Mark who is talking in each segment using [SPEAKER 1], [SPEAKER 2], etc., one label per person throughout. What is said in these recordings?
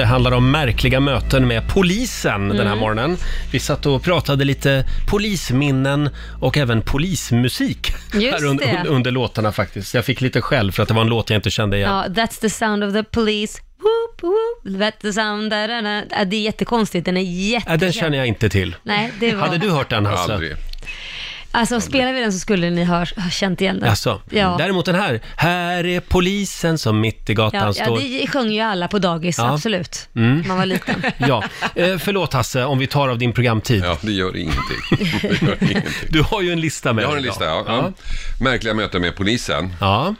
[SPEAKER 1] Det handlar om märkliga möten med polisen den här
[SPEAKER 2] Mm.
[SPEAKER 1] morgonen. Vi satt och pratade lite polisminnen och även polismusik
[SPEAKER 2] Just
[SPEAKER 1] här un-
[SPEAKER 2] det.
[SPEAKER 1] un- under låtarna faktiskt. Jag fick lite skäll för att det var en låt jag inte kände igen.
[SPEAKER 2] Ja, that's the sound of the police. Whoop, whoop, that's the sound. Da, da, da. Ja, Det är jättekonstigt, den är jätte...
[SPEAKER 1] Äh, den känner jag inte till.
[SPEAKER 2] Nej, det var...
[SPEAKER 1] Hade du hört den Hasse?
[SPEAKER 3] Aldrig.
[SPEAKER 2] Alltså, spelar vi den så skulle ni ha, ha känt igen den.
[SPEAKER 1] Alltså,
[SPEAKER 2] Ja.
[SPEAKER 1] Däremot den här. Här är polisen som mitt i gatan
[SPEAKER 2] Ja, ja,
[SPEAKER 1] står.
[SPEAKER 2] det sjöng ju alla på dagis,
[SPEAKER 1] Ja.
[SPEAKER 2] absolut. när Man var liten.
[SPEAKER 1] Ja, eh, förlåt Hasse om vi tar av din programtid.
[SPEAKER 3] Ja, det gör ingenting. Det gör ingenting.
[SPEAKER 1] Du har ju en lista med
[SPEAKER 3] Jag har en
[SPEAKER 1] dig
[SPEAKER 3] lista, ja.
[SPEAKER 1] idag.
[SPEAKER 3] ja. Märkliga möten med polisen.
[SPEAKER 1] ja.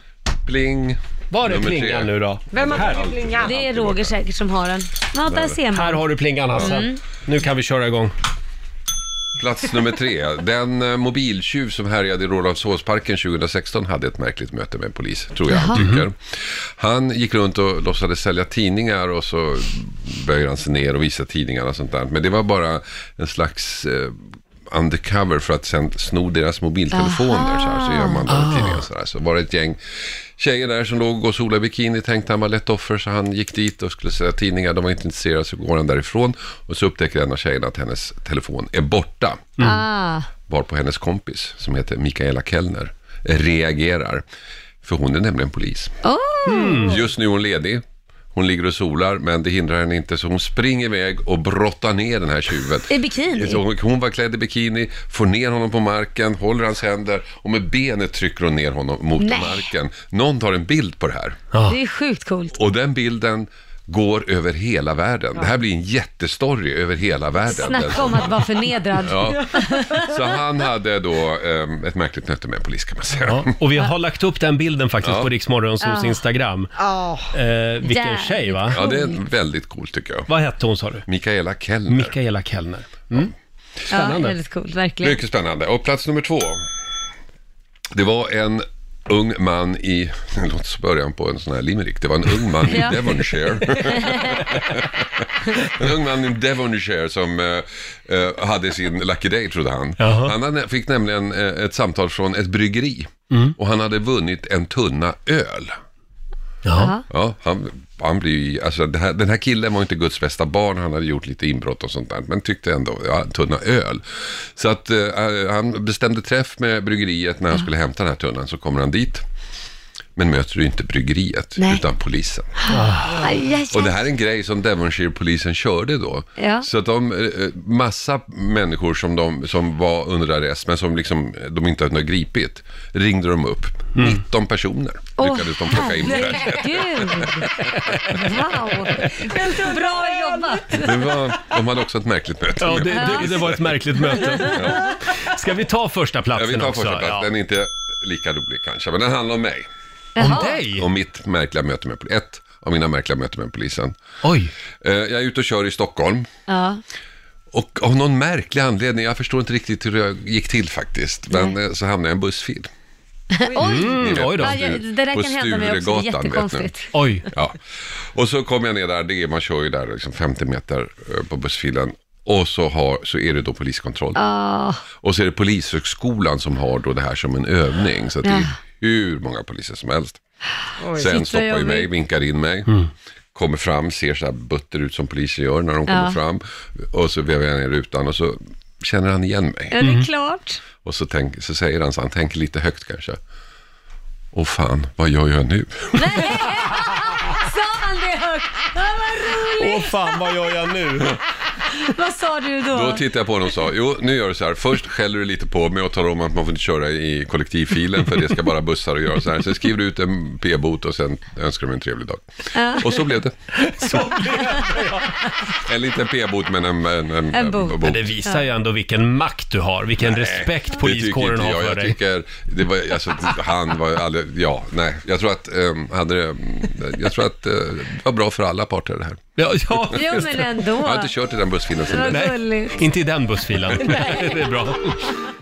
[SPEAKER 3] Pling.
[SPEAKER 1] Var är
[SPEAKER 3] Nummer tre.
[SPEAKER 1] plingan nu då?
[SPEAKER 4] Vem har fått plingan?
[SPEAKER 2] Det är Roger säkert som har den. Ja, där ser
[SPEAKER 1] Här
[SPEAKER 2] man.
[SPEAKER 1] har du plingan Hasse.
[SPEAKER 2] Mm.
[SPEAKER 1] Nu kan vi köra igång.
[SPEAKER 3] Plats nummer tre. Den eh, mobiltjuv som härjade i Rålambshovsparken 2016 hade ett märkligt möte med polis, tror jag han tycker. Han gick runt och låtsades sälja tidningar och så böjer han sig ner och visar tidningarna och sånt där. Men det var bara en slags eh, undercover för att sen sno deras mobiltelefoner. Så, här, så gör man de tidningarna så, här. så var det ett gäng tjejer där som låg och solade i bikini. Tänkte han var lätt offer så han gick dit och skulle sälja tidningar. De var inte intresserade så går han därifrån. Och så upptäcker en av tjejerna att hennes telefon är borta
[SPEAKER 2] Ah,
[SPEAKER 3] varpå hennes kompis, som heter Mikaela Kellner, reagerar. För hon är nämligen polis.
[SPEAKER 2] oh,
[SPEAKER 3] Mm. Just nu är hon ledig. Hon ligger och solar, men det hindrar henne inte, så hon springer iväg och brottar ner den här tjuven.
[SPEAKER 2] I bikini?
[SPEAKER 3] Så hon- Hon var klädd i bikini, får ner honom på marken, håller hans händer och med benet trycker hon ner honom mot
[SPEAKER 2] Nej.
[SPEAKER 3] marken. Någon tar en bild på det här.
[SPEAKER 2] det är sjukt coolt.
[SPEAKER 3] Och den bilden går över hela världen. Det här blir en jättestory över hela världen.
[SPEAKER 2] Snacka om att vara förnedrad.
[SPEAKER 3] Ja. Så han hade då ehm, ett märkligt möte med en polis kan man säga.
[SPEAKER 1] Ja, och vi har lagt upp den bilden faktiskt
[SPEAKER 3] Ja.
[SPEAKER 1] på Riksmorgonsols
[SPEAKER 2] Ja.
[SPEAKER 1] Instagram.
[SPEAKER 4] Ja.
[SPEAKER 1] Eh, vilken
[SPEAKER 2] Där.
[SPEAKER 1] tjej va?
[SPEAKER 3] Ja, det är väldigt coolt tycker jag.
[SPEAKER 1] Vad hette hon sa du?
[SPEAKER 3] Mikaela Kellner.
[SPEAKER 1] Mikaela Kellner. Mm.
[SPEAKER 2] Ja,
[SPEAKER 1] Spännande.
[SPEAKER 2] väldigt coolt, verkligen.
[SPEAKER 3] Mycket spännande. Och plats nummer två. Det var en ung man i, det låter som början på en sån här limerick, det var en ung man i
[SPEAKER 2] Ja.
[SPEAKER 3] Devonshire. en ung man i Devonshire som eh, eh, hade sin Lucky Day trodde han.
[SPEAKER 1] Jaha.
[SPEAKER 3] Han hade, fick nämligen eh, ett samtal från ett bryggeri och han hade vunnit en tunna öl.
[SPEAKER 1] Ja.
[SPEAKER 3] Ja, han, han blir ju, alltså det här, den här killen var inte Guds bästa barn, han hade gjort lite inbrott och sånt där, men tyckte ändå, ja, en tunna öl. Så att eh, han bestämde träff med bryggeriet när han skulle hämta den här tunnan, så kommer han dit. Men möter du inte bryggeriet,
[SPEAKER 2] Nej.
[SPEAKER 3] utan polisen.
[SPEAKER 2] Aj, aj,
[SPEAKER 3] Och det
[SPEAKER 2] aj.
[SPEAKER 3] här är en grej som Devonshire-polisen körde då.
[SPEAKER 2] Ja.
[SPEAKER 3] Så att de, eh, massa människor som, de, som var under arrest, men som liksom, eh, de inte hade gripit, ringde de upp. 19 personer
[SPEAKER 2] Mm. Åh,
[SPEAKER 3] lyckades de plocka in på det här sättet.
[SPEAKER 2] herregud! Wow! Bra jobbat!
[SPEAKER 3] Det var, de hade också ett märkligt möte.
[SPEAKER 1] Ja,
[SPEAKER 3] med
[SPEAKER 1] det,
[SPEAKER 3] polisen.
[SPEAKER 1] det, det var ett märkligt möte. Ska vi ta första
[SPEAKER 3] Jag
[SPEAKER 1] platsen
[SPEAKER 3] vill ta
[SPEAKER 1] också?
[SPEAKER 3] första plats. Den är inte lika rolig kanske, men den handlar om mig.
[SPEAKER 1] Ja.
[SPEAKER 2] Jaha.
[SPEAKER 1] Om dig?
[SPEAKER 3] Om mitt märkliga möte med polisen. Ett av mina märkliga möten med polisen.
[SPEAKER 1] Oj.
[SPEAKER 3] Eh, Jag är ute och kör i Stockholm.
[SPEAKER 2] Ja.
[SPEAKER 3] Och av någon märklig anledning, jag förstår inte riktigt hur det gick till faktiskt, men eh, så hamnade jag i en bussfil.
[SPEAKER 2] Oj!
[SPEAKER 3] Ni vet,
[SPEAKER 1] oj då.
[SPEAKER 3] Mm. på
[SPEAKER 2] Ja, jag- det där
[SPEAKER 3] Stu- på
[SPEAKER 2] kan hända mig också, det är
[SPEAKER 3] Sturegatan, vet ni.
[SPEAKER 2] jättekonstigt.
[SPEAKER 1] Oj.
[SPEAKER 3] Ja. Och så kom jag ner där, det är, man kör ju där liksom 50 meter eh, på bussfilen. Och så, har, så är det då poliskontroll. Och så är det Polishögskolan som har då det här som en övning. Så att det är
[SPEAKER 2] Ja.
[SPEAKER 3] hur många poliser som helst. Sen
[SPEAKER 2] Shit, vad
[SPEAKER 3] stoppar ju
[SPEAKER 2] jobbigt.
[SPEAKER 3] mig, vinkar in mig. Kommer fram, ser så här butter ut som poliser gör när de kommer
[SPEAKER 2] Ja.
[SPEAKER 3] fram. Och så vevar jag ner rutan och så känner han igen mig.
[SPEAKER 2] Ja, det är klart.
[SPEAKER 3] Och så, tänk, så säger han så, han tänker lite högt kanske. Åh fan, vad gör jag nu?
[SPEAKER 2] Nej! Sa han det högt? Ja, vad roligt!
[SPEAKER 1] Åh fan, vad gör jag nu?
[SPEAKER 2] Vad sa du då?
[SPEAKER 3] Då tittade jag på honom och sa, jo nu gör du så här, först skäller du lite på mig och talar om att man får inte köra i kollektivfilen för det ska bara bussar och göra så här. Sen skriver du ut en p-bot och sen önskar du mig en trevlig dag. Och så blev det. Eller inte en p-bot men en, en, en,
[SPEAKER 2] En bot.
[SPEAKER 1] Men det visar ju ändå vilken makt du har, vilken
[SPEAKER 3] Det
[SPEAKER 1] respekt
[SPEAKER 3] Eh, tycker
[SPEAKER 1] poliskåren
[SPEAKER 3] inte
[SPEAKER 1] har
[SPEAKER 3] jag.
[SPEAKER 1] för
[SPEAKER 3] Jag
[SPEAKER 1] dig.
[SPEAKER 3] tycker, det var, alltså, han var ju aldrig, ja, nej. Jag tror att, um, hade det, jag tror att eh, det var bra för alla parter det här.
[SPEAKER 1] Ja, ja.
[SPEAKER 2] Jo, men ändå.
[SPEAKER 3] Jag har inte kört i den bussfilen sedan
[SPEAKER 2] Vad
[SPEAKER 3] dess.
[SPEAKER 1] Nej,
[SPEAKER 2] gulligt.
[SPEAKER 1] inte i den bussfilen. det är bra.